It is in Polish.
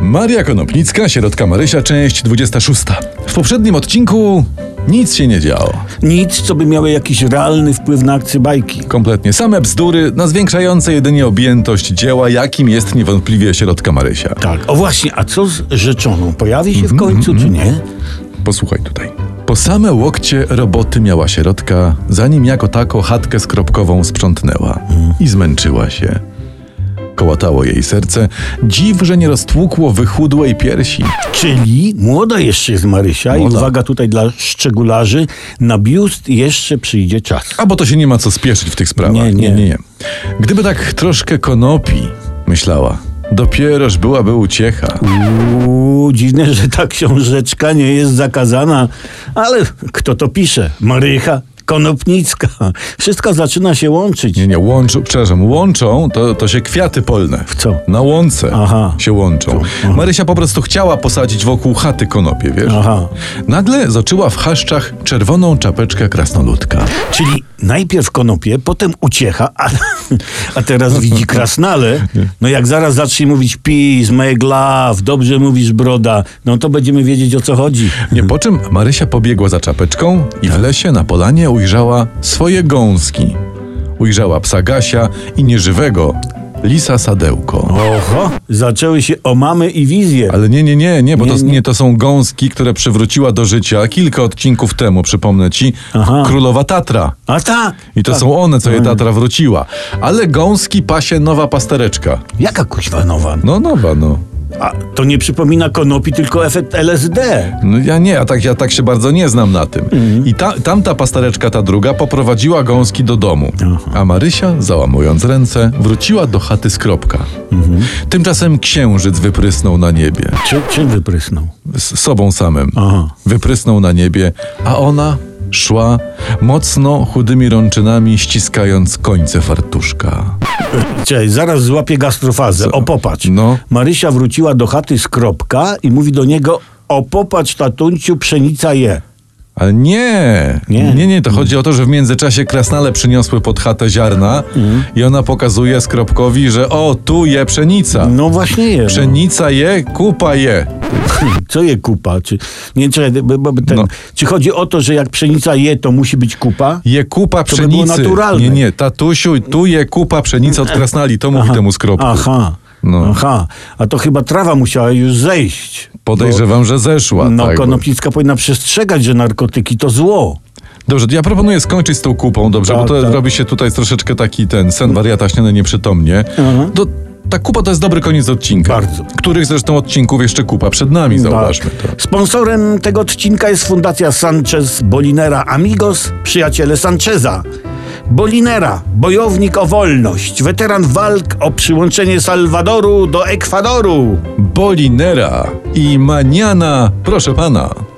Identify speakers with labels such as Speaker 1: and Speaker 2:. Speaker 1: Maria Konopnicka, Sierotka Marysia, część 26. W poprzednim odcinku nic się nie działo.
Speaker 2: Nic, co by miało jakiś realny wpływ na akcję bajki.
Speaker 1: Kompletnie same bzdury, na zwiększające jedynie objętość dzieła, jakim jest niewątpliwie Sierotka Marysia.
Speaker 2: Tak. O właśnie, a co z rzeczoną? Pojawi
Speaker 1: Mhm,
Speaker 2: się w końcu, czy nie?
Speaker 1: Posłuchaj tutaj. Po same łokcie roboty miała Sierotka, zanim jako tako chatkę skropkową sprzątnęła. I zmęczyła się. Kołatało jej serce, dziw, że nie roztłukło wychudłej piersi.
Speaker 2: Czyli młoda jeszcze jest Marysia
Speaker 1: Młoda.
Speaker 2: i uwaga tutaj dla szczegularzy, na biust jeszcze przyjdzie czas.
Speaker 1: A bo to się nie ma co spieszyć w tych sprawach.
Speaker 2: Nie, nie.
Speaker 1: nie, nie. Gdyby tak troszkę konopi, myślała, dopieroż byłaby uciecha.
Speaker 2: Uuu, dziwne, że ta książeczka nie jest zakazana, ale kto to pisze? Marycha Konopnicka. Wszystko zaczyna się łączyć.
Speaker 1: Nie, nie, łączą, przepraszam, łączą to, to się kwiaty polne. W
Speaker 2: co?
Speaker 1: Na łące
Speaker 2: Aha.
Speaker 1: się łączą. Marysia po prostu chciała posadzić wokół chaty konopie, wiesz?
Speaker 2: Aha.
Speaker 1: Nagle zoczyła w chaszczach czerwoną czapeczkę krasnoludka.
Speaker 2: Czyli najpierw konopie, potem uciecha, a, a teraz widzi krasnale. No jak zaraz zacznie mówić peace, make love, dobrze mówisz broda, no to będziemy wiedzieć o co chodzi.
Speaker 1: Nie, po czym Marysia pobiegła za czapeczką i w lesie na polanie ujrzała swoje gąski. Ujrzała psa Gasia i nieżywego lisa Sadełko.
Speaker 2: Oho, zaczęły się omamy i wizje.
Speaker 1: Ale nie, nie, nie, nie, bo to,
Speaker 2: Nie, nie.
Speaker 1: nie, to są gąski, które przywróciła do życia kilka odcinków temu, przypomnę ci,
Speaker 2: Aha.
Speaker 1: królowa Tatra.
Speaker 2: A tak, No
Speaker 1: I to są one, co je Tatra wróciła. Ale gąski pasie nowa pastereczka.
Speaker 2: jaka kuźwa nowa?
Speaker 1: No nowa, no.
Speaker 2: A, to nie przypomina konopi, tylko efekt LSD.
Speaker 1: No ja nie, a tak, ja tak się bardzo nie znam na tym. I ta, tamta pastereczka, ta druga, poprowadziła gąski do domu. A Marysia, załamując ręce, wróciła do chaty skropka. Tymczasem księżyc wyprysnął na niebie.
Speaker 2: Czy, czym wyprysnął?
Speaker 1: z sobą samym.
Speaker 2: Aha.
Speaker 1: Wyprysnął na niebie, a ona szła mocno chudymi rączynami, ściskając końce fartuszka.
Speaker 2: Cześć, zaraz złapię gastrofazę. O, popatrz.
Speaker 1: No.
Speaker 2: Marysia wróciła do chaty z kropka i mówi do niego, o, popatrz, tatunciu, pszenica je.
Speaker 1: Ale nie, nie,
Speaker 2: Nie.
Speaker 1: nie, to chodzi o to, że w międzyczasie krasnale przyniosły pod chatę ziarna
Speaker 2: Mhm.
Speaker 1: i ona pokazuje Skropkowi, że o, tu je pszenica.
Speaker 2: No właśnie je. no.
Speaker 1: Pszenica je, kupa je.
Speaker 2: Co je kupa? Czy, nie, czekaj, bo, bo ten,
Speaker 1: No.
Speaker 2: czy chodzi o to, że jak pszenica je, to musi być kupa?
Speaker 1: Je kupa
Speaker 2: by było
Speaker 1: pszenicy.
Speaker 2: naturalne.
Speaker 1: Nie, nie, tatusiu, tu je kupa pszenicy od krasnali, to mówi temu Skropku.
Speaker 2: Aha.
Speaker 1: No.
Speaker 2: Aha, a to chyba trawa musiała już zejść.
Speaker 1: Podejrzewam, że
Speaker 2: Bo,
Speaker 1: zeszła.
Speaker 2: no,
Speaker 1: tak, bo-
Speaker 2: konopnicka powinna przestrzegać, że narkotyki to zło.
Speaker 1: Dobrze, ja proponuję skończyć z tą kupą, dobrze, bo
Speaker 2: Tak,
Speaker 1: to
Speaker 2: tak.
Speaker 1: robi się tutaj troszeczkę taki ten sen wariata śniony nieprzytomnie. To, ta kupa to jest dobry koniec odcinka.
Speaker 2: Mhm. Bardzo.
Speaker 1: Których zresztą odcinków jeszcze kupa przed nami, zauważmy to.
Speaker 2: Tak. Sponsorem tego odcinka jest Fundacja Sanchez Bolinera Amigos, przyjaciele Sancheza. Bolinera, bojownik o wolność, weteran walk o przyłączenie Salwadoru do Ekwadoru.
Speaker 1: Bolinera i Maniana, proszę pana.